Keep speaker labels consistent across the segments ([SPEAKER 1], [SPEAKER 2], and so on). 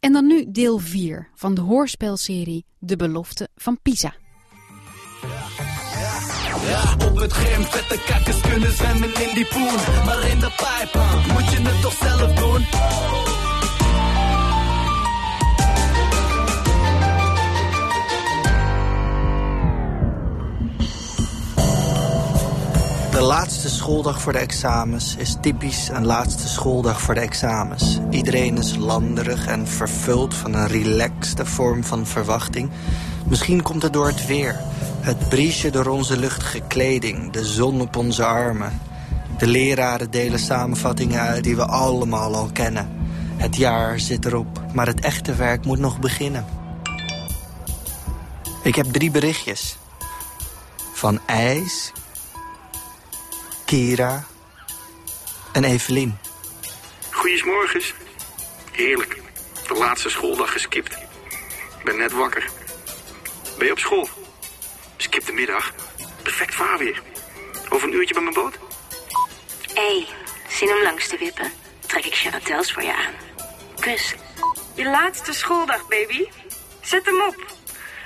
[SPEAKER 1] En dan nu deel 4 van de hoorspelserie De Belofte van Pisa.
[SPEAKER 2] Ja, op het gym, vette kakkers kunnen zwemmen in die poen. Maar in de pijp, moet je het toch zelf doen? De laatste schooldag voor de examens is typisch een laatste schooldag voor de examens. Iedereen is landerig en vervuld van een relaxte vorm van verwachting. Misschien komt het door het weer, het briesje door onze luchtige kleding, de zon op onze armen. De leraren delen samenvattingen uit die we allemaal al kennen. Het jaar zit erop, maar het echte werk moet nog beginnen. Ik heb drie berichtjes. Van IJs, Kira en Evelien.
[SPEAKER 3] Goedemorgens. Heerlijk. De laatste schooldag geskipt. Ik ben net wakker. Ben je op school? Skip de middag. Perfect vaarweer. Over een uurtje bij mijn boot?
[SPEAKER 4] Hé, zin om langs te wippen. Trek ik Charatels voor je aan. Kus.
[SPEAKER 5] Je laatste schooldag, baby. Zet hem op.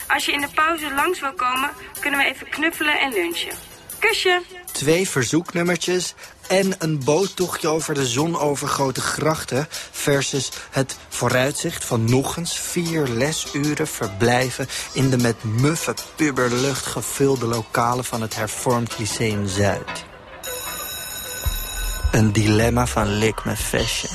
[SPEAKER 5] Als je in de pauze langs wil komen, kunnen we even knuffelen en lunchen. Kusje.
[SPEAKER 2] Twee verzoeknummertjes en een boottochtje over de zonovergrote grachten... versus het vooruitzicht van nog eens vier lesuren verblijven... in de met muffe puberlucht gevulde lokalen van het hervormd Lyceum Zuid. Een dilemma van lik me vestje.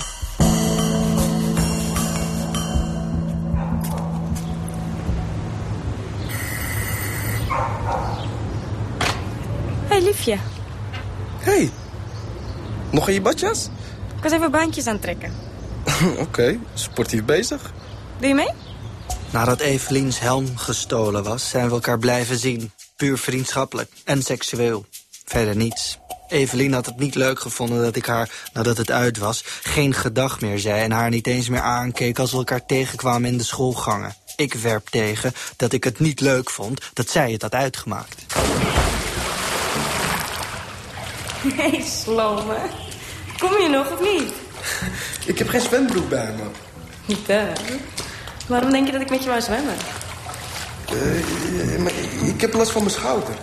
[SPEAKER 5] Hé, hey, liefje.
[SPEAKER 6] Hey, nog in je badjas?
[SPEAKER 5] Ik was even baantjes aan het trekken.
[SPEAKER 6] Oké, sportief bezig.
[SPEAKER 5] Doe je mee?
[SPEAKER 2] Nadat Evelien's helm gestolen was, zijn we elkaar blijven zien. Puur vriendschappelijk en seksueel. Verder niets. Evelien had het niet leuk gevonden dat ik haar, nadat het uit was, geen gedag meer zei en haar niet eens meer aankeek als we elkaar tegenkwamen in de schoolgangen. Ik werp tegen dat ik het niet leuk vond dat zij het had uitgemaakt.
[SPEAKER 5] Nee, slome. Kom je nog of niet?
[SPEAKER 6] Ik heb geen zwembroek bij me.
[SPEAKER 5] Niet hè? Waarom denk je dat ik met je wou zwemmen?
[SPEAKER 6] Eh, maar ik heb last van mijn schouder.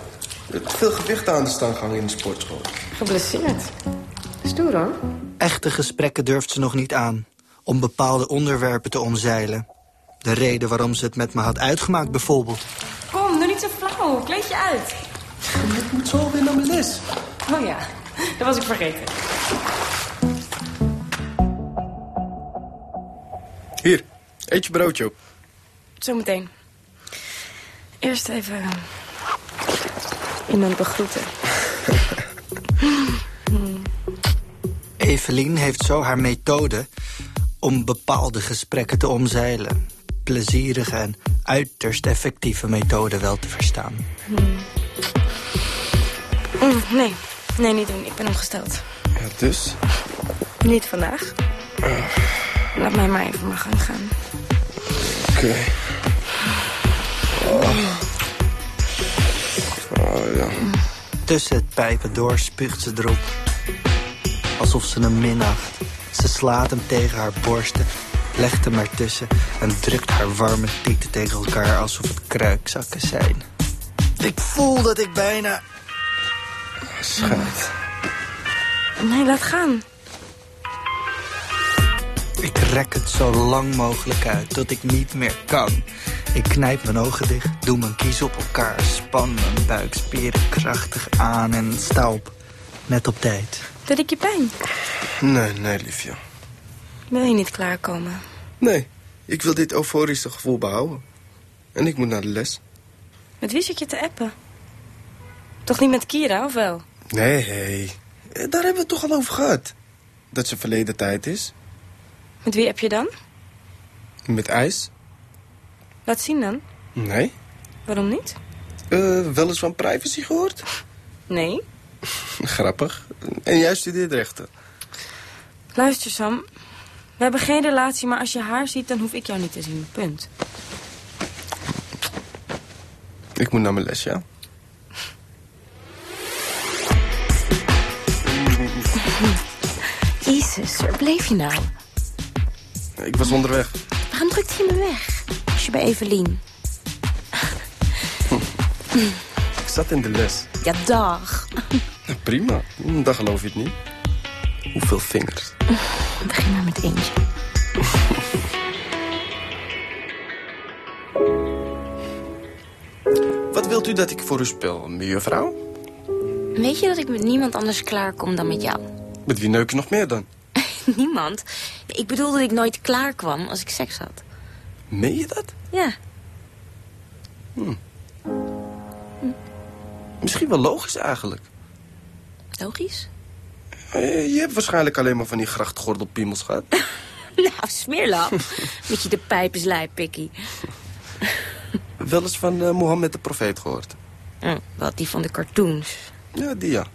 [SPEAKER 6] Eh, Veel gewicht aan de stang hangen in de sportschool.
[SPEAKER 5] Geblesseerd. Stoer hoor.
[SPEAKER 2] Echte gesprekken durft ze nog niet aan, om bepaalde onderwerpen te omzeilen. De reden waarom ze het met me had uitgemaakt bijvoorbeeld.
[SPEAKER 5] Kom, doe niet zo flauw. Kleed je uit.
[SPEAKER 6] Ik moet zo weer naar mijn les.
[SPEAKER 5] Oh ja, dat was ik vergeten.
[SPEAKER 6] Hier, eet je broodje op.
[SPEAKER 5] Zometeen. Eerst even iemand begroeten.
[SPEAKER 2] Evelien heeft zo haar methode om bepaalde gesprekken te omzeilen. Plezierige en uiterst effectieve methode wel te verstaan.
[SPEAKER 5] Mm, nee, nee, niet doen. Ik ben ongesteld.
[SPEAKER 6] Ja, dus?
[SPEAKER 5] Niet vandaag. Laat mij maar even mijn gang gaan.
[SPEAKER 6] Oké. Oh. Oh, ja.
[SPEAKER 2] Tussen het pijpen door spuugt ze erop. Alsof ze hem minacht. Ze slaat hem tegen haar borsten, legt hem ertussen... en drukt haar warme tieten tegen elkaar alsof het kruikzakken zijn. Ik voel dat ik bijna...
[SPEAKER 6] Schijt.
[SPEAKER 5] Nee, laat gaan.
[SPEAKER 2] Ik rek het zo lang mogelijk uit, tot ik niet meer kan. Ik knijp mijn ogen dicht, doe mijn kies op elkaar... span mijn buikspieren krachtig aan en sta op. Net op tijd.
[SPEAKER 5] Dat ik je pijn.
[SPEAKER 6] Nee, nee, liefje.
[SPEAKER 5] Wil je niet klaarkomen?
[SPEAKER 6] Nee, ik wil dit euforische gevoel behouden. En ik moet naar de les.
[SPEAKER 5] Met wie zit je te appen? Toch niet met Kira, of wel?
[SPEAKER 6] Nee, hey. Eh, daar hebben we het toch al over gehad. Dat ze verleden tijd is.
[SPEAKER 5] Met wie heb je dan?
[SPEAKER 6] Met ijs?
[SPEAKER 5] Laat zien dan.
[SPEAKER 6] Nee.
[SPEAKER 5] Waarom niet?
[SPEAKER 6] Eh, wel eens van privacy gehoord?
[SPEAKER 5] Nee.
[SPEAKER 6] Grappig. En jij studeert rechten.
[SPEAKER 5] Luister, Sam. We hebben geen relatie, maar als je haar ziet, dan hoef ik jou niet te zien. Punt.
[SPEAKER 6] Ik moet naar mijn les, ja?
[SPEAKER 4] Jezus, waar bleef je nou?
[SPEAKER 6] Ik was onderweg.
[SPEAKER 7] Waarom drukt hij me weg? Als je bij Evelien.
[SPEAKER 6] Ik zat in de les.
[SPEAKER 7] Ja, dag.
[SPEAKER 6] Nou, Prima, Hm, dan geloof je het niet. Hoeveel vingers?
[SPEAKER 7] Begin maar met eentje.
[SPEAKER 6] Wat wilt u dat ik voor u speel, mevrouw?
[SPEAKER 7] Weet je dat ik met niemand anders klaarkom dan met jou?
[SPEAKER 6] Met wie neuk je nog meer dan?
[SPEAKER 7] Niemand? Ik bedoel dat ik nooit klaar kwam als ik seks had.
[SPEAKER 6] Meen je dat?
[SPEAKER 7] Ja,
[SPEAKER 6] Misschien wel logisch eigenlijk.
[SPEAKER 7] logisch.
[SPEAKER 6] Eh, Je hebt waarschijnlijk alleen maar van die grachtgordelpiemels gehad.
[SPEAKER 7] Nou, smeerlap. Beetje de pijp is lijp, pikkie.
[SPEAKER 6] Wel eens van eh, Mohammed de profeet gehoord.
[SPEAKER 7] Hm, wat, die van de cartoons.
[SPEAKER 6] Ja, die ja.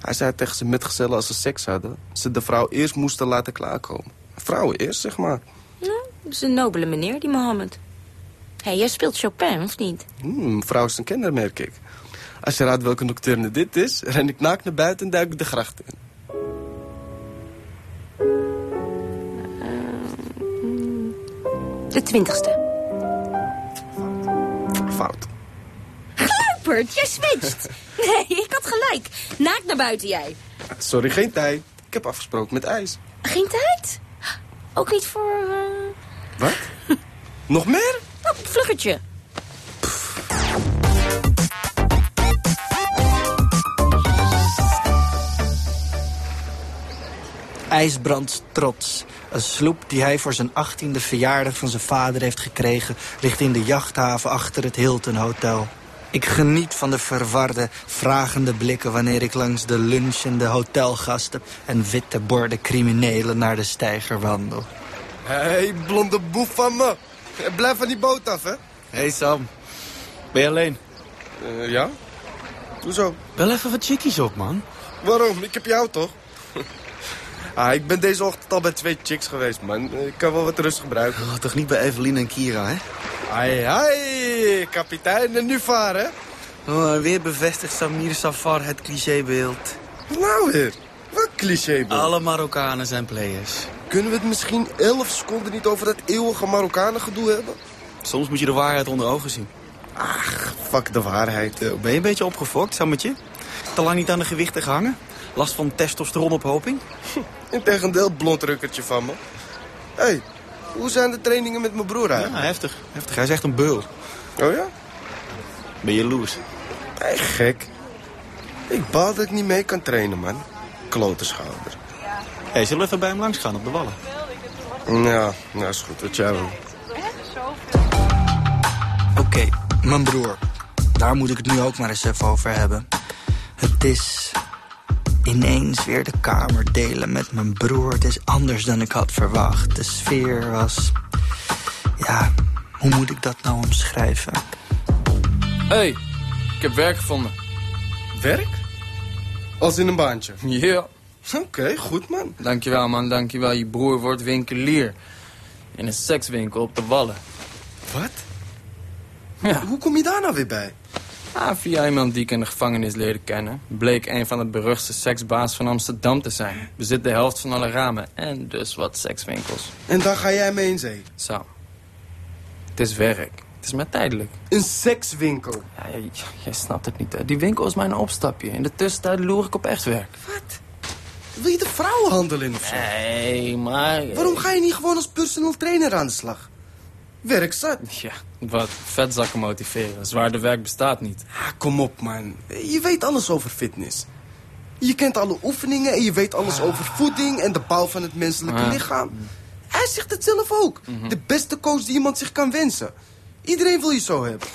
[SPEAKER 6] Hij zei tegen zijn metgezellen als ze seks hadden... ze de vrouw eerst moesten laten klaarkomen. Vrouwen eerst, zeg maar.
[SPEAKER 7] Nou, dat is een nobele meneer, die Mohammed. Hé, hey, jij speelt Chopin, of niet?
[SPEAKER 6] Hmm, vrouw is een kenner, merk ik. Als je raadt welke nocturne dit is... ren ik naakt naar buiten en duik ik de gracht in.
[SPEAKER 7] De twintigste.
[SPEAKER 6] Fout.
[SPEAKER 7] Rupert, jij switcht. Nee, ik had gelijk. Naakt naar buiten jij.
[SPEAKER 6] Sorry, geen tijd. Ik heb afgesproken met ijs.
[SPEAKER 7] Geen tijd? Ook niet voor... eh,
[SPEAKER 6] Wat? Nog meer?
[SPEAKER 7] Nou, een vluggertje.
[SPEAKER 2] IJsbrand trots. Een sloep die hij voor zijn 18e verjaardag van zijn vader heeft gekregen... ligt in de jachthaven achter het Hilton Hotel. Ik geniet van de verwarde, vragende blikken... wanneer ik langs de lunchende hotelgasten... en witte borden criminelen naar de steiger wandel.
[SPEAKER 6] Hé, hey, blonde boef van me. Blijf van die boot af, hè?
[SPEAKER 8] Hey Sam, ben je alleen?
[SPEAKER 6] Eh, ja? Hoezo?
[SPEAKER 8] Wel even wat chickies op, man.
[SPEAKER 6] Waarom? Ik heb jou toch? ah, ik ben deze ochtend al bij twee chicks geweest, man. Ik kan wel wat rust gebruiken.
[SPEAKER 8] Oh, toch niet bij Evelien en Kira, hè?
[SPEAKER 6] Ai, ai, kapitein, en nu varen?
[SPEAKER 8] Oh, weer bevestigt Samir Safar het clichébeeld.
[SPEAKER 6] Nou weer, wat cliché, man.
[SPEAKER 8] Alle Marokkanen zijn players.
[SPEAKER 6] Kunnen we het misschien elf seconden niet over dat eeuwige Marokkanen gedoe hebben?
[SPEAKER 8] Soms moet je de waarheid onder ogen zien.
[SPEAKER 6] Fuck de waarheid. eh,
[SPEAKER 8] Ben je een beetje opgefokt, Sammetje? Te lang niet aan de gewichten gehangen? Last van testosteronophoping?
[SPEAKER 6] Integendeel, blond rukkertje van me. Hé, hey, hoe zijn de trainingen met mijn broer
[SPEAKER 8] Ja,
[SPEAKER 6] eigenlijk?
[SPEAKER 8] Nou, heftig. heftig. Hij is echt een beul.
[SPEAKER 6] Oh ja?
[SPEAKER 8] Ben je jaloers?
[SPEAKER 6] Hey, gek. Ik baal dat ik niet mee kan trainen, man. Klote schouder.
[SPEAKER 8] Hé, hey, zullen we even bij hem langs gaan op de wallen?
[SPEAKER 6] Ja, nou is goed, wat jij wil.
[SPEAKER 2] Oké, mijn broer. Daar moet ik het nu ook maar eens even over hebben. Het is ineens weer de kamer delen met mijn broer. Het is anders dan ik had verwacht. De sfeer was... Ja, hoe moet ik dat nou omschrijven?
[SPEAKER 9] Hé, hey, ik heb werk gevonden.
[SPEAKER 6] Werk? Als in een baantje.
[SPEAKER 9] Ja,
[SPEAKER 6] Oké, goed man.
[SPEAKER 9] dankjewel man, dankjewel. Je broer wordt winkelier. In een sekswinkel op de Wallen.
[SPEAKER 6] Wat?
[SPEAKER 9] Ja.
[SPEAKER 6] Hoe kom je daar nou weer bij?
[SPEAKER 9] Ah, via iemand die ik in de gevangenis leerde kennen... bleek een van de beruchtste seksbaas van Amsterdam te zijn. Bezit de helft van alle ramen en dus wat sekswinkels.
[SPEAKER 6] En daar ga jij mee in zee.
[SPEAKER 9] Zo. Het is werk. Het is maar tijdelijk.
[SPEAKER 6] Een sekswinkel.
[SPEAKER 9] Ja, jij, jij snapt het niet, hè. Die winkel is mijn opstapje. In de tussentijd loer ik op echt werk.
[SPEAKER 6] Wat? Wil je de vrouwenhandel in of zo?
[SPEAKER 9] Nee, maar...
[SPEAKER 6] Waarom ga je niet gewoon als personal trainer aan de slag? Werk zat.
[SPEAKER 9] Ja, wat vetzakken motiveren. Zwaarder werk bestaat niet.
[SPEAKER 6] Ah, kom op man. Je weet alles over fitness. Je kent alle oefeningen en je weet alles over voeding en de bouw van het menselijke
[SPEAKER 9] Ah.
[SPEAKER 6] lichaam. Hij zegt het zelf ook. De beste coach die iemand zich kan wensen. Iedereen wil je zo hebben.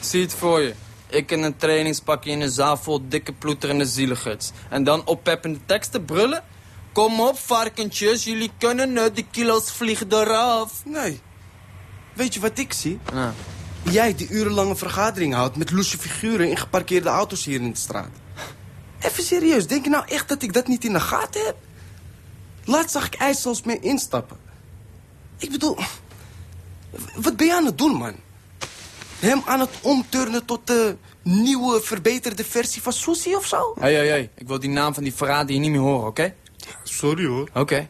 [SPEAKER 9] Zie het voor je. Ik in een trainingspakje in een zaal vol dikke ploeterende zieligerts. En dan oppeppende teksten brullen. Kom op, varkentjes, jullie kunnen het, de kilo's vliegen eraf. Ah.
[SPEAKER 6] Nee. Weet je wat ik zie?
[SPEAKER 9] Ja.
[SPEAKER 6] Jij die urenlange vergaderingen houdt met loesje figuren in geparkeerde auto's hier in de straat. Even serieus, denk je nou echt dat ik dat niet in de gaten heb? Laatst zag ik IJs zelfs meer instappen. Ik bedoel, wat ben je aan het doen, man? Hem aan het omturnen tot de nieuwe, verbeterde versie van Susie of zo?
[SPEAKER 9] Hé, hé, hé, ik wil die naam van die verrader hier niet meer horen, oké?
[SPEAKER 6] Sorry hoor.
[SPEAKER 9] Oké.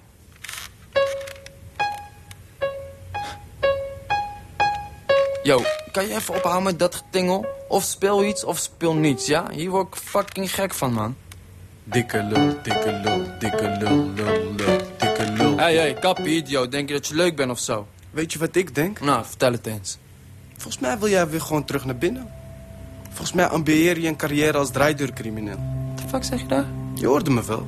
[SPEAKER 9] Yo, kan je even ophouden met dat getingel? Of speel iets of speel niets, ja? Hier word ik fucking gek van, man. Dikke lul, dikke lul, dikke lul, lul, lul, dikke lul. Hey, hey, kappie, idioot. Denk je dat je leuk bent of zo?
[SPEAKER 6] Weet je wat ik denk?
[SPEAKER 9] Nou, vertel het eens.
[SPEAKER 6] Volgens mij wil jij weer gewoon terug naar binnen. Volgens mij ambieer je een carrière als draaideurcrimineel.
[SPEAKER 9] Wat de fuck zeg je daar?
[SPEAKER 6] Je hoorde me wel.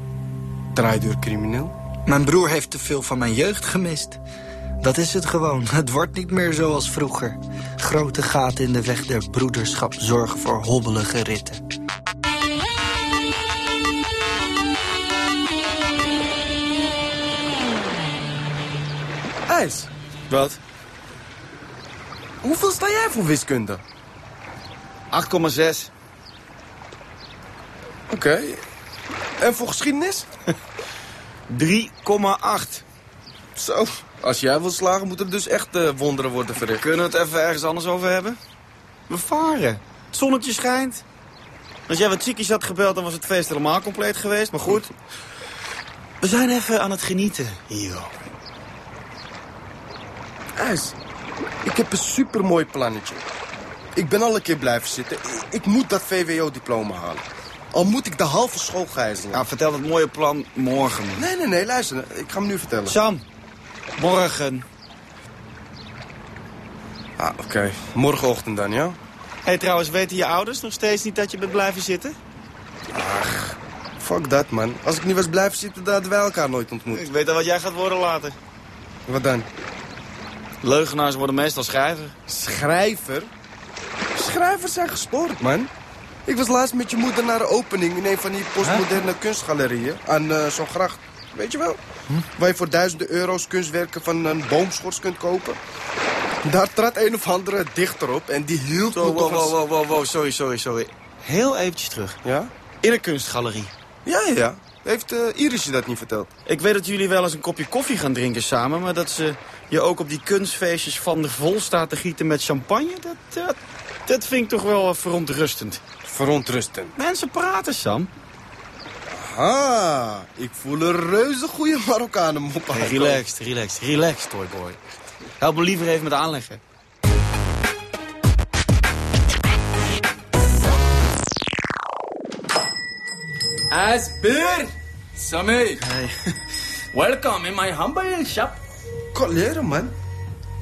[SPEAKER 6] Draaideurcrimineel.
[SPEAKER 2] Mijn broer heeft te veel van mijn jeugd gemist. Dat is het gewoon. Het wordt niet meer zoals vroeger. Grote gaten in de weg der broederschap zorgen voor hobbelige ritten.
[SPEAKER 6] IJs,
[SPEAKER 8] Wat?
[SPEAKER 6] hoeveel sta jij voor wiskunde?
[SPEAKER 8] 8,6.
[SPEAKER 6] Oké. En voor geschiedenis?
[SPEAKER 8] 3,8.
[SPEAKER 6] Zo. Als jij wil slagen, moeten er dus echt eh, wonderen worden verricht.
[SPEAKER 8] Kunnen we het even ergens anders over hebben? We varen. Het zonnetje schijnt. Als jij wat chickies had gebeld, dan was het feest helemaal compleet geweest. Maar goed. We zijn even aan het genieten hier.
[SPEAKER 6] IJs, ik heb een supermooi plannetje. Ik ben al een keer blijven zitten. Ik, ik moet dat VWO-diploma halen. Al moet ik de halve school gijzelen.
[SPEAKER 8] Nou, vertel dat mooie plan morgen. man.
[SPEAKER 6] Nee, nee, nee, luister. Ik ga hem nu vertellen.
[SPEAKER 8] Sam, morgen.
[SPEAKER 6] Ah, oké. Morgenochtend dan, ja?
[SPEAKER 8] Hé, hey, trouwens, weten je ouders nog steeds niet dat je bent blijven zitten?
[SPEAKER 6] Fuck dat, man. Als ik niet was blijven zitten, dan hadden wij elkaar nooit ontmoet.
[SPEAKER 8] Ik weet al wat jij gaat worden later.
[SPEAKER 6] Wat dan?
[SPEAKER 8] Leugenaars worden meestal schrijver.
[SPEAKER 6] Schrijver? Schrijvers zijn gespoord, man. Ik was laatst met je moeder naar de opening in een van die postmoderne kunstgalerieën aan eh, zo'n gracht. Weet je wel?
[SPEAKER 8] Hm?
[SPEAKER 6] Waar je voor duizenden euro's kunstwerken van een boomschors kunt kopen. Daar trad een of andere dichter op en die hield me
[SPEAKER 8] Zo,
[SPEAKER 6] toch
[SPEAKER 8] wow,
[SPEAKER 6] als-
[SPEAKER 8] wow, wow, wow, wow, sorry, sorry, sorry. Heel eventjes terug.
[SPEAKER 6] Ja?
[SPEAKER 8] In een kunstgalerie.
[SPEAKER 6] Ja, ja, ja. Heeft eh, Iris je dat niet verteld?
[SPEAKER 8] Ik weet dat jullie wel eens een kopje koffie gaan drinken samen, maar dat ze je ook op die kunstfeestjes van de vol staat te gieten met champagne, dat, dat, dat vind ik toch wel eh, verontrustend.
[SPEAKER 6] Verontrustend.
[SPEAKER 8] Mensen praten, Sam.
[SPEAKER 6] Ah, ik voel een reuze goede Marokkanen mop
[SPEAKER 8] Hey,
[SPEAKER 6] aankomen.
[SPEAKER 8] relaxed, relaxed, relaxed, toyboy. Help me liever even met aanleggen.
[SPEAKER 9] Asper! Samir! Welkom in my humble shop.
[SPEAKER 6] Kan leren, man.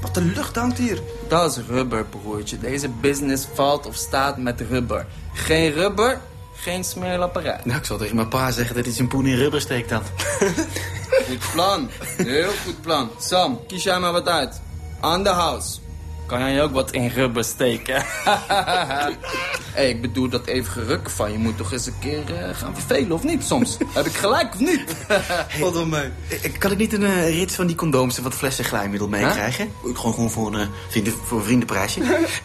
[SPEAKER 6] Wat een lucht hangt hier.
[SPEAKER 9] Dat is rubber, broertje. Deze business valt of staat met rubber. Geen rubber, geen smeerlapperij.
[SPEAKER 8] Nou, ik zal tegen mijn pa zeggen dat hij zijn poen in rubber steekt dan.
[SPEAKER 9] Goed plan. Heel goed plan. Sam, kies jij maar wat uit. On the house. Kan jij ook wat in rubber steken? hey, ik bedoel dat even gerukken van. Je moet toch eens een keer eh, gaan vervelen, of niet soms? Heb ik gelijk of niet?
[SPEAKER 6] Wat dan mee.
[SPEAKER 8] Kan ik niet een eh, rits van die condooms en wat flessen glijmiddel meekrijgen? Gewoon, gewoon voor een eh, vrienden, voor een vriendenprijsje.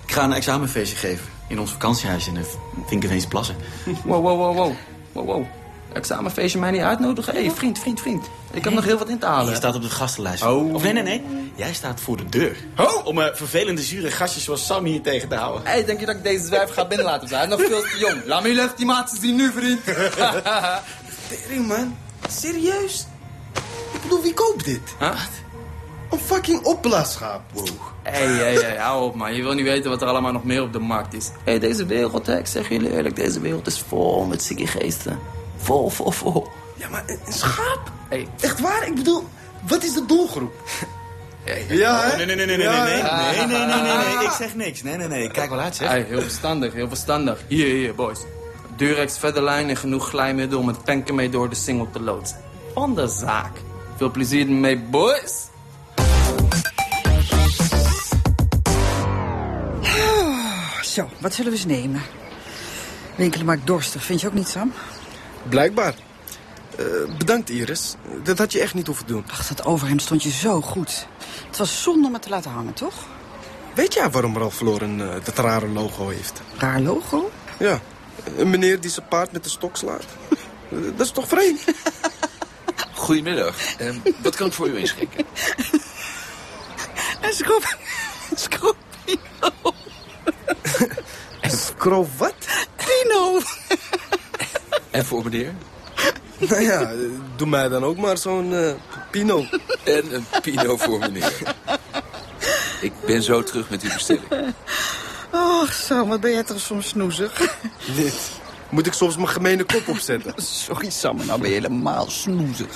[SPEAKER 8] ik ga een examenfeestje geven in ons vakantiehuis in het Vinkenveens Plassen.
[SPEAKER 9] Wow, wow, wow, wow. Wow, wow. Examenfeestje mij niet uitnodigen? Hé, hey, vriend, vriend, vriend. Ik heb nog heel wat in te
[SPEAKER 8] Je
[SPEAKER 9] halen.
[SPEAKER 8] staat op de gastenlijst.
[SPEAKER 9] Oh.
[SPEAKER 8] Of nee, nee, nee. Jij staat voor de deur. Om eh, vervelende, zure gastjes zoals Sam hier tegen te houden.
[SPEAKER 9] Hé, hey, denk je dat ik deze zwijf ga binnenlaten? Hij is nog veel te jong. Laat me je even die maatjes zien nu, vriend.
[SPEAKER 6] Tering, man. Serieus? Ik bedoel, wie koopt dit?
[SPEAKER 9] Huh?
[SPEAKER 6] Een fucking opblaaschaap. Wow.
[SPEAKER 9] Hé, hé, hé, hou op man. Je wil niet weten wat er allemaal nog meer op de markt is. Hé, deze wereld, hè, ik zeg jullie eerlijk, deze wereld is vol met zieke geesten. Vol, vol, vol.
[SPEAKER 6] Ja, maar een een schaap?
[SPEAKER 9] Hé,
[SPEAKER 6] Echt waar? Ik bedoel, wat is de doelgroep? Ja, hè?
[SPEAKER 8] Oh, Nee, nee, nee, nee, nee, nee, nee, nee, nee, nee, nee, nee, nee. Ik zeg niks. Nee, nee, nee. Kijk wel uit, zeg.
[SPEAKER 9] hey, heel verstandig, heel verstandig. Hier, hier, boys. Durex, verder lijn en genoeg glijmiddel om het tanken mee door de singel te loodsen. Van de zaak. Veel plezier ermee, boys.
[SPEAKER 10] Zo, wat zullen we eens nemen? Winkelen maakt dorstig, vind je ook niet, Sam?
[SPEAKER 6] Blijkbaar. Eh, bedankt, Iris. Dat had je echt niet hoeven doen.
[SPEAKER 10] Ach, dat overhemd stond je zo goed. Het was zonde om het te laten hangen, toch?
[SPEAKER 6] Weet jij waarom Ralph Lauren eh, dat rare logo heeft?
[SPEAKER 10] Raar logo.
[SPEAKER 6] Ja, een meneer die zijn paard met een stok slaat. Eh, dat is toch vreemd?
[SPEAKER 11] Goedemiddag. Ehm, wat kan ik voor u inschikken?
[SPEAKER 10] En schroep... Scroepino.
[SPEAKER 6] Scro wat?
[SPEAKER 10] Pino.
[SPEAKER 11] En voor meneer?
[SPEAKER 6] nou ja, eh, doe mij dan ook maar zo'n eh, pino.
[SPEAKER 11] En een pino voor meneer. Ik ben zo terug met uw bestelling.
[SPEAKER 10] Och, Sam, wat ben jij toch soms snoezig.
[SPEAKER 6] Dit. Moet ik soms mijn gemene kop opzetten?
[SPEAKER 10] Sorry, Sam, maar nou ben je helemaal snoezig.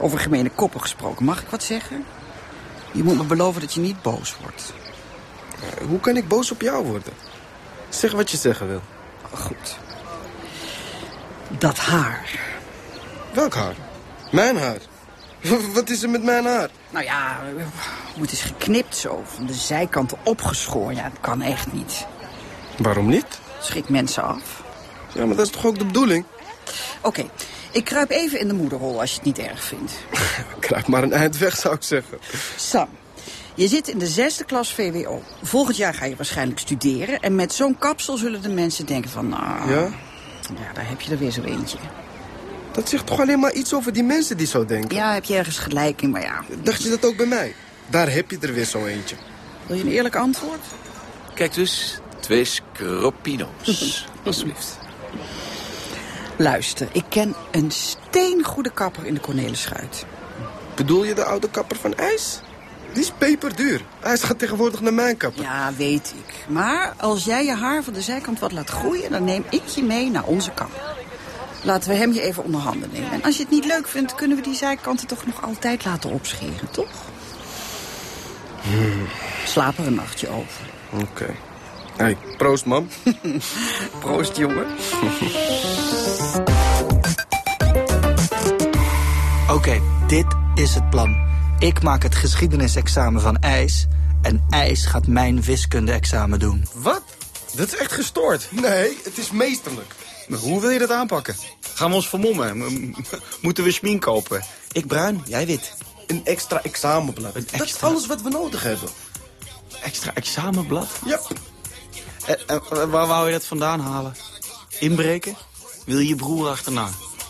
[SPEAKER 10] Over gemene koppen gesproken, mag ik wat zeggen? Je moet me beloven dat je niet boos wordt.
[SPEAKER 6] Hoe kan ik boos op jou worden? Zeg wat je zeggen wil.
[SPEAKER 10] Goed. Dat haar.
[SPEAKER 6] Welk haar? Mijn haar. Wat is er met mijn haar?
[SPEAKER 10] Nou ja, hoe het is geknipt zo, van de zijkanten opgeschoren. Ja, dat kan echt niet.
[SPEAKER 6] Waarom niet?
[SPEAKER 10] Schrik mensen af.
[SPEAKER 6] Ja, maar dat is toch ook de bedoeling?
[SPEAKER 10] Oké, ik kruip even in de moederrol als je het niet erg vindt.
[SPEAKER 6] Kruip maar een eind weg, zou ik zeggen.
[SPEAKER 10] Sam, je zit in de zesde klas VWO. Volgend jaar ga je waarschijnlijk studeren. En met zo'n kapsel zullen de mensen denken van... Nou,
[SPEAKER 6] Ja?
[SPEAKER 10] ja, daar heb je er weer zo eentje.
[SPEAKER 6] Dat zegt toch alleen maar iets over die mensen die zo denken?
[SPEAKER 10] Ja, heb je ergens gelijk in, maar ja.
[SPEAKER 6] Dacht je dat ook bij mij? Daar heb je er weer zo eentje.
[SPEAKER 10] Wil je een eerlijk antwoord?
[SPEAKER 11] Kijk dus, twee scroppino's. Alsjeblieft.
[SPEAKER 10] Luister, ik ken een steengoede kapper in de Cornelischuit.
[SPEAKER 6] Bedoel je de oude kapper van IJs? Die is peperduur. IJs gaat tegenwoordig naar mijn kapper.
[SPEAKER 10] Ja, weet ik. Maar als jij je haar van de zijkant wat laat groeien... dan neem ik je mee naar onze kapper. Laten we hem je even onder handen nemen. En als je het niet leuk vindt, kunnen we die zijkanten toch nog altijd laten opscheren, toch?
[SPEAKER 11] Hmm.
[SPEAKER 10] Slaap er een nachtje over.
[SPEAKER 6] Oké. Hey, proost, mam.
[SPEAKER 10] Proost, jongen.
[SPEAKER 2] Oké, dit is het plan. Ik maak het geschiedenisexamen van IJs... en IJs gaat mijn wiskunde-examen doen.
[SPEAKER 8] Wat? Dat is echt gestoord.
[SPEAKER 6] Nee, het is meesterlijk.
[SPEAKER 8] Maar hoe wil je dat aanpakken? Gaan we ons vermommen? M- m- moeten we smink kopen? Ik bruin, jij wit.
[SPEAKER 6] Een extra examenblad. Dat is
[SPEAKER 8] extra-
[SPEAKER 6] alles wat we nodig hebben.
[SPEAKER 8] Extra examenblad?
[SPEAKER 6] Ja.
[SPEAKER 8] Eh, eh, waar wou je dat vandaan halen? Inbreken? Wil je je broer achterna?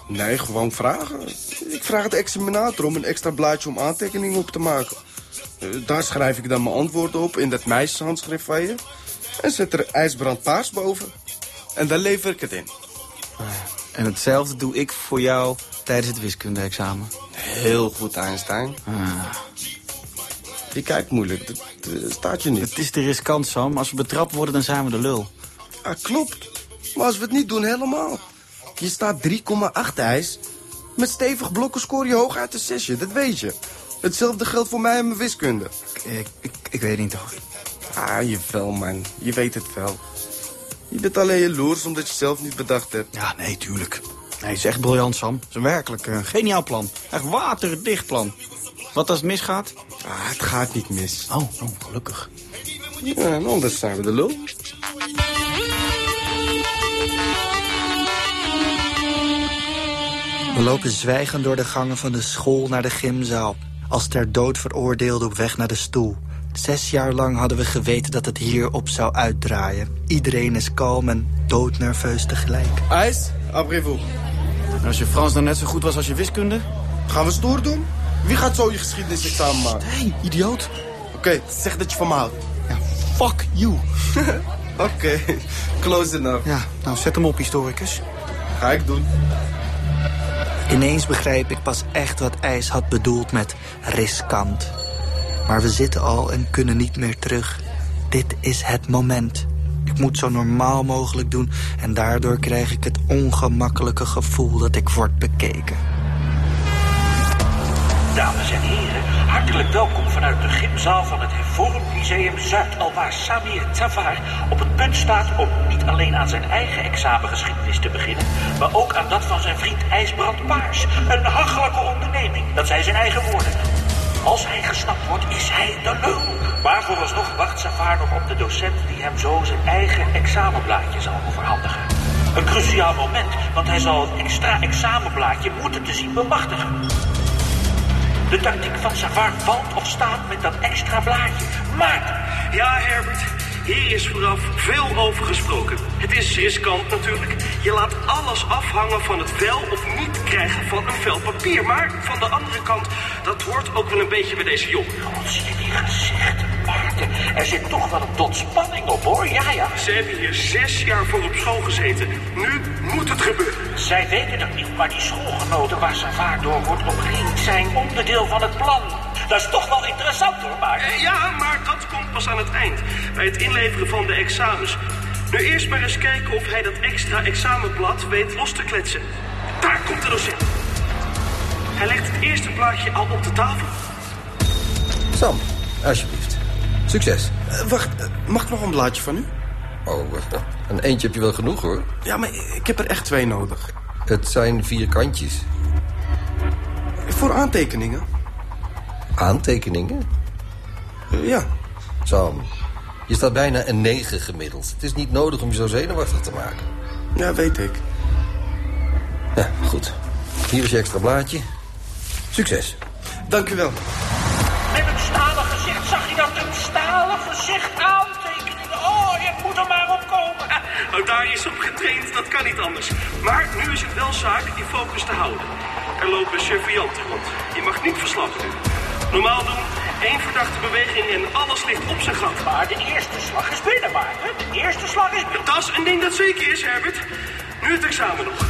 [SPEAKER 6] Nee, gewoon vragen. Ik vraag de examinator om een extra blaadje om aantekeningen op te maken. Eh, Daar schrijf ik dan mijn antwoord op in dat meisjeshandschrift van je. En zet er ijsbrand paars boven. En dan lever ik het in.
[SPEAKER 8] En hetzelfde doe ik voor jou tijdens het wiskunde-examen.
[SPEAKER 6] Heel goed, Einstein. Je kijkt moeilijk, dat eh, staat je niet.
[SPEAKER 8] Het is de riskant, Sam. Als we betrapt worden, dan zijn we de lul.
[SPEAKER 6] Ah, klopt. Maar als we het niet doen, helemaal. Je staat 3,8 ijs. Met stevig blokken scoor je hooguit een zesje, dat weet je. Hetzelfde geldt voor mij en mijn wiskunde.
[SPEAKER 8] Ik, ik, ik weet niet, toch?
[SPEAKER 6] Ah, jawel, man. Je weet het wel. Je bent alleen jaloers omdat je zelf niet bedacht hebt.
[SPEAKER 8] Ja, nee, tuurlijk. Hij is echt briljant, Sam. Het is een werkelijk eh, geniaal plan. Echt waterdicht plan. Wat als het misgaat?
[SPEAKER 6] Ah, het gaat niet mis.
[SPEAKER 8] Oh, oh gelukkig.
[SPEAKER 6] Ja, en anders zijn we de lul.
[SPEAKER 2] We lopen zwijgend door de gangen van de school naar de gymzaal. Als ter dood veroordeelde op weg naar de stoel. Zes jaar lang hadden we geweten dat het hierop zou uitdraaien. Iedereen is kalm en doodnerveus tegelijk.
[SPEAKER 6] IJs, après vous.
[SPEAKER 8] En als je Frans dan net zo goed was als je wiskunde?
[SPEAKER 6] Gaan we stoer doen? Wie gaat zo je geschiedenisexamen maken?
[SPEAKER 8] Hé, hey, idioot.
[SPEAKER 6] Oké, zeg dat je van me houdt.
[SPEAKER 8] Fuck you.
[SPEAKER 6] Oké, close enough.
[SPEAKER 8] Ja, nou zet hem op, historicus.
[SPEAKER 6] Ga ik doen.
[SPEAKER 2] Ineens begrijp ik pas echt wat IJs had bedoeld met riskant. Maar we zitten al en kunnen niet meer terug. Dit is het moment. Ik moet zo normaal mogelijk doen en daardoor krijg ik het ongemakkelijke gevoel dat ik word bekeken.
[SPEAKER 12] Dames en heren, hartelijk welkom vanuit de gymzaal van het Hervormd Museum Zuid, alwaar Samir Tafar op het punt staat om niet alleen aan zijn eigen examengeschiedenis te beginnen, maar ook aan dat van zijn vriend IJsbrand Paars. Een hachelijke onderneming, dat zijn zijn eigen woorden. Als hij gesnapt wordt, is hij de lul. Maar vooralsnog wacht Safar nog op de docent die hem zo zijn eigen examenblaadje zal overhandigen. Een cruciaal moment, want hij zal het extra examenblaadje moeten te zien bemachtigen. De tactiek van Savard valt of staat met dat extra blaadje. Maar
[SPEAKER 3] Ja, Herbert. Hier is vooraf veel over gesproken. Het is riskant natuurlijk. Je laat alles afhangen van het wel of niet krijgen van een vel papier. Maar van de andere kant, dat hoort ook wel een beetje bij deze jongen.
[SPEAKER 12] God, zie je die gezichten, Maarten? Er zit toch wel een tot spanning op, hoor. Ja, ja.
[SPEAKER 3] Ze hebben hier zes jaar voor op school gezeten. Nu moet het gebeuren.
[SPEAKER 12] Zij weten dat niet, maar die schoolgenoten waar Savard door wordt omringd zijn onderdeel van het plan. Dat is toch wel interessant, hoor, bij het inleveren van de examens. Nu eerst maar eens kijken of hij dat extra examenblad weet los te kletsen. Daar komt de docent. Hij legt het eerste blaadje al op de tafel.
[SPEAKER 6] Sam, alsjeblieft. Succes. wacht, eh, mag ik nog een blaadje van u?
[SPEAKER 13] Oh, eh, een eentje heb je wel genoeg, hoor.
[SPEAKER 6] Ja, maar ik heb er echt twee nodig.
[SPEAKER 13] Het zijn vier kantjes.
[SPEAKER 6] Voor aantekeningen.
[SPEAKER 13] Aantekeningen?
[SPEAKER 6] ja.
[SPEAKER 13] Sam, je staat bijna een negen gemiddeld. Het is niet nodig om je zo zenuwachtig te maken.
[SPEAKER 6] Ja, weet ik.
[SPEAKER 13] Ja, goed. Hier is je extra blaadje. Succes.
[SPEAKER 6] Dank u wel.
[SPEAKER 12] Met een stalen gezicht zag je dat een stalen gezicht aantekeningen. Oh, je moet er maar op komen. Ah, daar is op getraind, dat kan niet anders. Maar nu is het wel zaak die focus te houden. Er lopen surveillanten rond. Je mag niet verslappen nu. Normaal doen, één verdachte beweging en alles ligt op zijn gat. Maar de eerste slag is binnen, maar. De eerste slag is binnen. Dat is een ding dat zeker is, Herbert. Nu het examen nog.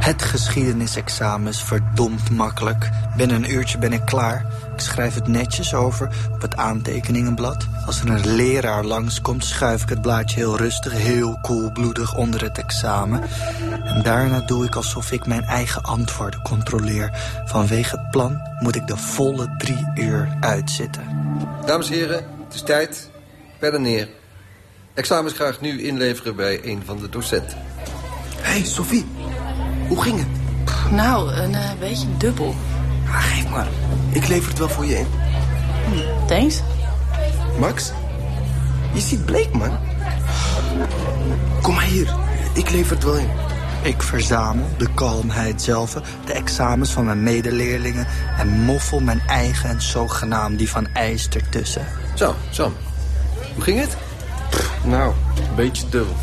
[SPEAKER 2] Het geschiedenisexamen is verdomd makkelijk. Binnen een uurtje ben ik klaar. Ik schrijf het netjes over op het aantekeningenblad. Als er een leraar langskomt, schuif ik het blaadje heel rustig, heel koelbloedig onder het examen. En daarna doe ik alsof ik mijn eigen antwoorden controleer. Vanwege het plan moet ik de volle drie uur uitzitten.
[SPEAKER 13] Dames en heren, het is tijd. Verder neer. Examens graag nu inleveren bij een van de docenten.
[SPEAKER 6] Hé, hey, Sophie. Hoe ging het?
[SPEAKER 14] Nou, een eh, beetje dubbel.
[SPEAKER 6] Ah, geef maar. Ik lever het wel voor je in.
[SPEAKER 14] Thanks.
[SPEAKER 6] Max? Je ziet bleek, man. Kom maar hier. Ik lever het wel in.
[SPEAKER 2] Ik verzamel de kalmheid zelf, de examens van mijn medeleerlingen... en moffel mijn eigen en zogenaamd die van IJs ertussen.
[SPEAKER 13] Zo, Sam. Hoe ging het?
[SPEAKER 6] Nou, een beetje dubbel.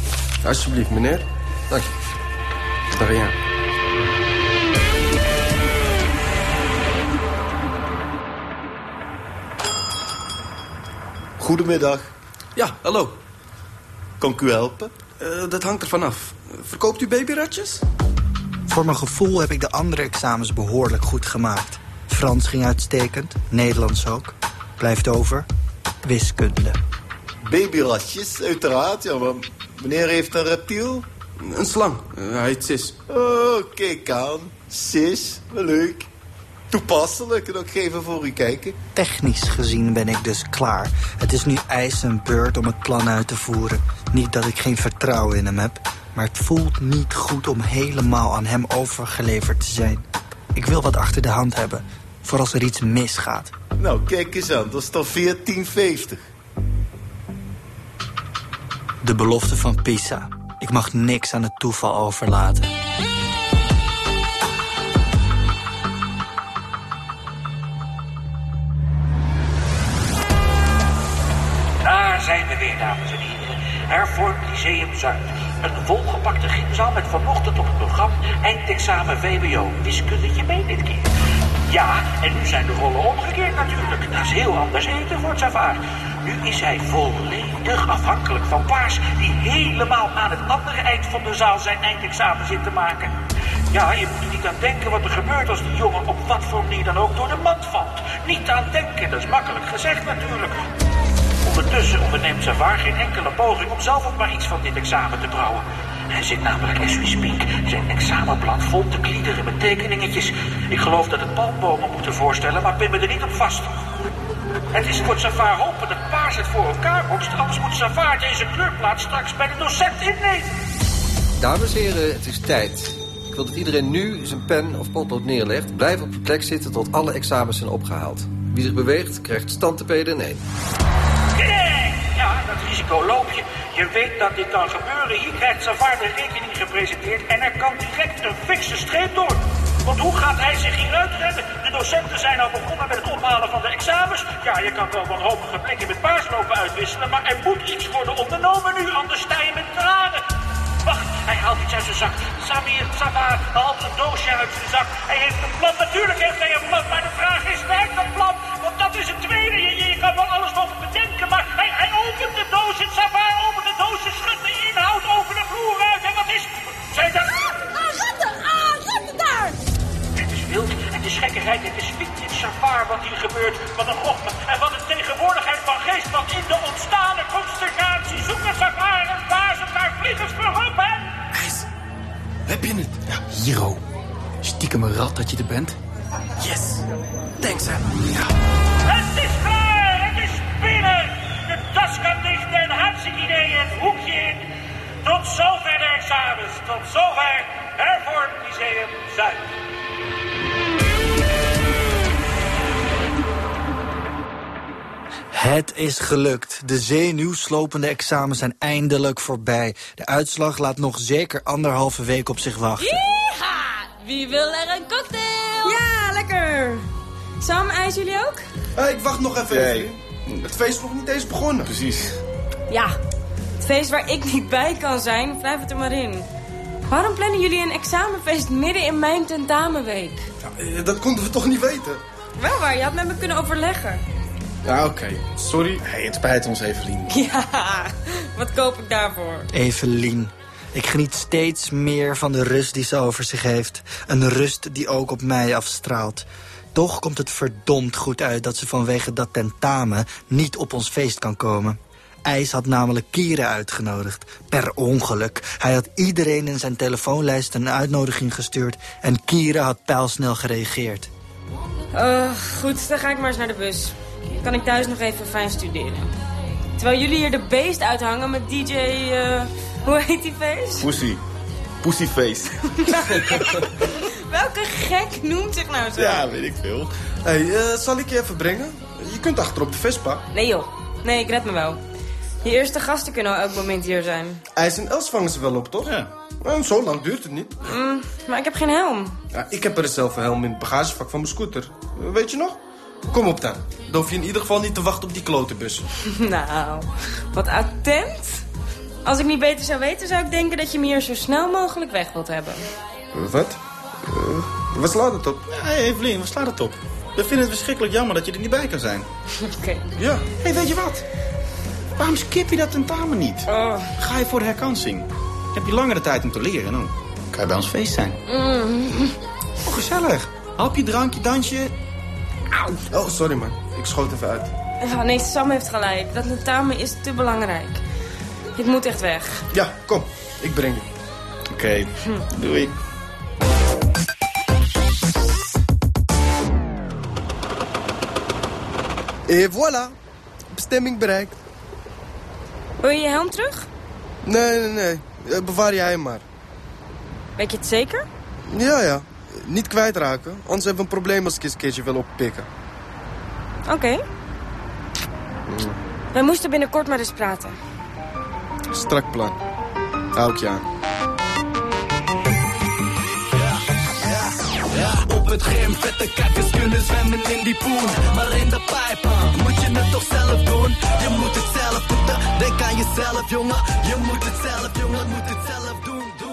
[SPEAKER 6] Alsjeblieft, meneer.
[SPEAKER 13] Dank je.
[SPEAKER 6] Daar ja.
[SPEAKER 15] Goedemiddag.
[SPEAKER 6] Ja, hallo.
[SPEAKER 15] Kan ik u helpen?
[SPEAKER 6] Eh, dat hangt ervan af. Verkoopt u babyratjes?
[SPEAKER 2] Voor mijn gevoel heb ik de andere examens behoorlijk goed gemaakt. Frans ging uitstekend, Nederlands ook. Blijft over wiskunde.
[SPEAKER 15] Babyratjes, uiteraard. Ja, maar meneer heeft een reptiel.
[SPEAKER 6] Een slang. Eh, hij heet Sis.
[SPEAKER 15] Oh, kijk aan. Sis, wel leuk. Toepasselijk. En ook geven voor u kijken.
[SPEAKER 2] Technisch gezien ben ik dus klaar. Het is nu ijs en beurt om het plan uit te voeren. Niet dat ik geen vertrouwen in hem heb, maar het voelt niet goed om helemaal aan hem overgeleverd te zijn. Ik wil wat achter de hand hebben, voor als er iets misgaat.
[SPEAKER 15] Nou, kijk eens aan. Dat is dan 1450.
[SPEAKER 2] De belofte van Pisa. Ik mag niks aan het toeval overlaten.
[SPEAKER 12] Daar zijn we weer, dames en heren. Hervormd Lyceum Zuid. Een volgepakte gymzaal met vanochtend op het programma eindexamen VWO. Wiskundetje mee dit keer. Ja, en nu zijn de rollen omgekeerd natuurlijk. Dat is heel anders eten voor het savaar. Nu is hij volledig afhankelijk van Paars, die helemaal aan het andere eind van de zaal zijn eindexamen zit te maken. Ja, je moet er niet aan denken wat er gebeurt als die jongen op wat voor manier dan ook door de mand valt. Niet aan denken, dat is makkelijk gezegd natuurlijk. Ondertussen onderneemt Savaar geen enkele poging om zelf ook maar iets van dit examen te brouwen. Hij zit namelijk, as we speak, zijn examenblad vol te kliederen met tekeningetjes. Ik geloof dat het palmbomen moeten voorstellen, maar pin me er niet op vast. Het is voor Savaar hopen dat Paars het voor elkaar bokst, anders moet Savaar deze kleurplaat straks bij de docent innemen.
[SPEAKER 13] Dames en heren, het is tijd. Ik wil dat iedereen nu zijn pen of potlood neerlegt. Blijf op de plek zitten tot alle examens zijn opgehaald. Wie zich beweegt, krijgt standtepeden en één.
[SPEAKER 12] Kijk, Ja, dat risico loop je. Je weet dat dit kan gebeuren. Hier krijgt Savard de rekening gepresenteerd en er kan direct een fikse streep door. Want hoe gaat hij zich hieruit redden? De docenten zijn al begonnen met het ophalen van de examens. Ja, je kan wel wanhopige blikken met paars lopen uitwisselen, maar er moet iets worden ondernomen nu, anders sta je met tranen. Wacht, hij haalt iets uit zijn zak. Samir, Savard haalt een doosje uit zijn zak. Hij heeft een plan, natuurlijk heeft hij een plan, maar de vraag is, werkt dat plan? Want dat is het tweede. Je, je- je kan wel alles over bedenken, maar hij, hij opent de doos en Savard opent de doos en schudt de inhoud over de vloer uit. En wat is... Zijn dat...
[SPEAKER 7] Ratten, ah, ratten daar!
[SPEAKER 12] Het is wild, het is gekkigheid, het is vintage Savard wat hier gebeurt. Wat een gochme en wat een
[SPEAKER 16] Stiekem rat dat je er bent.
[SPEAKER 12] Yes. Thanks, hè. Het is klaar. Het is binnen. De tas kan dicht en hartstikke het hoekje in. Tot zover de examens. Tot zover Hervormd Museum Zuid.
[SPEAKER 2] Het is gelukt. De zenuwslopende examens zijn eindelijk voorbij. De uitslag laat nog zeker anderhalve week op zich wachten.
[SPEAKER 17] Yeeha! Wie wil er een cocktail?
[SPEAKER 5] Ja, lekker. Sam, ijs jullie ook?
[SPEAKER 6] Hé, ik wacht nog even.
[SPEAKER 8] Nee.
[SPEAKER 6] even. Het feest is nog niet eens begonnen. Precies.
[SPEAKER 5] Ja. Het feest waar ik niet bij kan zijn, blijf het er maar in. Waarom plannen jullie een examenfeest midden in mijn tentamenweek?
[SPEAKER 6] eh, Dat konden we toch niet weten?
[SPEAKER 5] Wel waar, je had met me kunnen overleggen.
[SPEAKER 6] Ja, oké. Sorry. Hey, het spijt ons, Evelien.
[SPEAKER 5] Ja, wat koop ik daarvoor?
[SPEAKER 2] Evelien. Ik geniet steeds meer van de rust die ze over zich heeft. Een rust die ook op mij afstraalt. Toch komt het verdomd goed uit dat ze vanwege dat tentamen niet op ons feest kan komen. IJs had namelijk Kieren uitgenodigd. Per ongeluk. Hij had iedereen in zijn telefoonlijst een uitnodiging gestuurd... en Kieren had pijlsnel gereageerd.
[SPEAKER 5] Eh, goed, dan ga ik maar eens naar de bus. Kan ik thuis nog even fijn studeren. Terwijl jullie hier de beest uithangen met DJ... eh, hoe heet die feest?
[SPEAKER 18] Pussy. Pussyface.
[SPEAKER 5] Welke gek noemt zich nou zo?
[SPEAKER 18] Ja, weet ik veel.
[SPEAKER 6] Hé, hey, eh, zal ik je even brengen? Je kunt achter op de Vespa.
[SPEAKER 5] Nee joh, nee, ik red me wel. Je eerste gasten kunnen elk moment hier zijn.
[SPEAKER 6] IJs en Els vangen ze wel op, toch? Ja. zo lang duurt het niet.
[SPEAKER 5] Mm, maar ik heb geen helm.
[SPEAKER 6] Ja, ik heb er zelf een helm in het bagagevak van mijn scooter. Eh, Weet je nog? Kom op dan. Dan hoef je in ieder geval niet te wachten op die klote bus.
[SPEAKER 5] nou, wat attent. Als ik niet beter zou weten, zou ik denken dat je me hier zo snel mogelijk weg wilt hebben.
[SPEAKER 6] Wat? Eh, wat slaat het op?
[SPEAKER 8] Hé, hey, Evelien, waar slaat het op? We vinden het verschrikkelijk jammer dat je er niet bij kan zijn.
[SPEAKER 5] Oké.
[SPEAKER 8] Ja. Hé, hey, weet je wat? Waarom skip je dat tentamen niet? Ga je voor de herkansing? Dan heb je langere tijd om te leren. Dan kan je bij ons feest zijn. Oh, gezellig. Hapje, drankje, dansje.
[SPEAKER 6] Oh, sorry man. Ik schoot even uit.
[SPEAKER 5] Ja, nee, Sam heeft gelijk. Dat tentamen is te belangrijk. Ik moet echt weg.
[SPEAKER 6] Ja, kom. Ik breng je.
[SPEAKER 8] Oké, doei.
[SPEAKER 6] Et Eh, voilà. Bestemming bereikt.
[SPEAKER 5] Wil je je helm terug?
[SPEAKER 6] Nee, nee, nee. Eh, Bewaar jij hem maar.
[SPEAKER 5] Weet je het zeker?
[SPEAKER 6] Ja, ja. Eh, Niet kwijtraken. Anders hebben we een probleem als ik eens een keertje wil oppikken.
[SPEAKER 5] Oké. Wij moesten binnenkort maar eens praten.
[SPEAKER 6] Strak plan. Hou ik je aan.
[SPEAKER 19] Ja, op het gym, vette kijkers kunnen zwemmen in die poen. Maar in de pijp, huh, moet je het toch zelf doen? Je moet het zelf doen, denk aan jezelf, jongen. Je moet het zelf, jongen, moet het zelf doen, doen.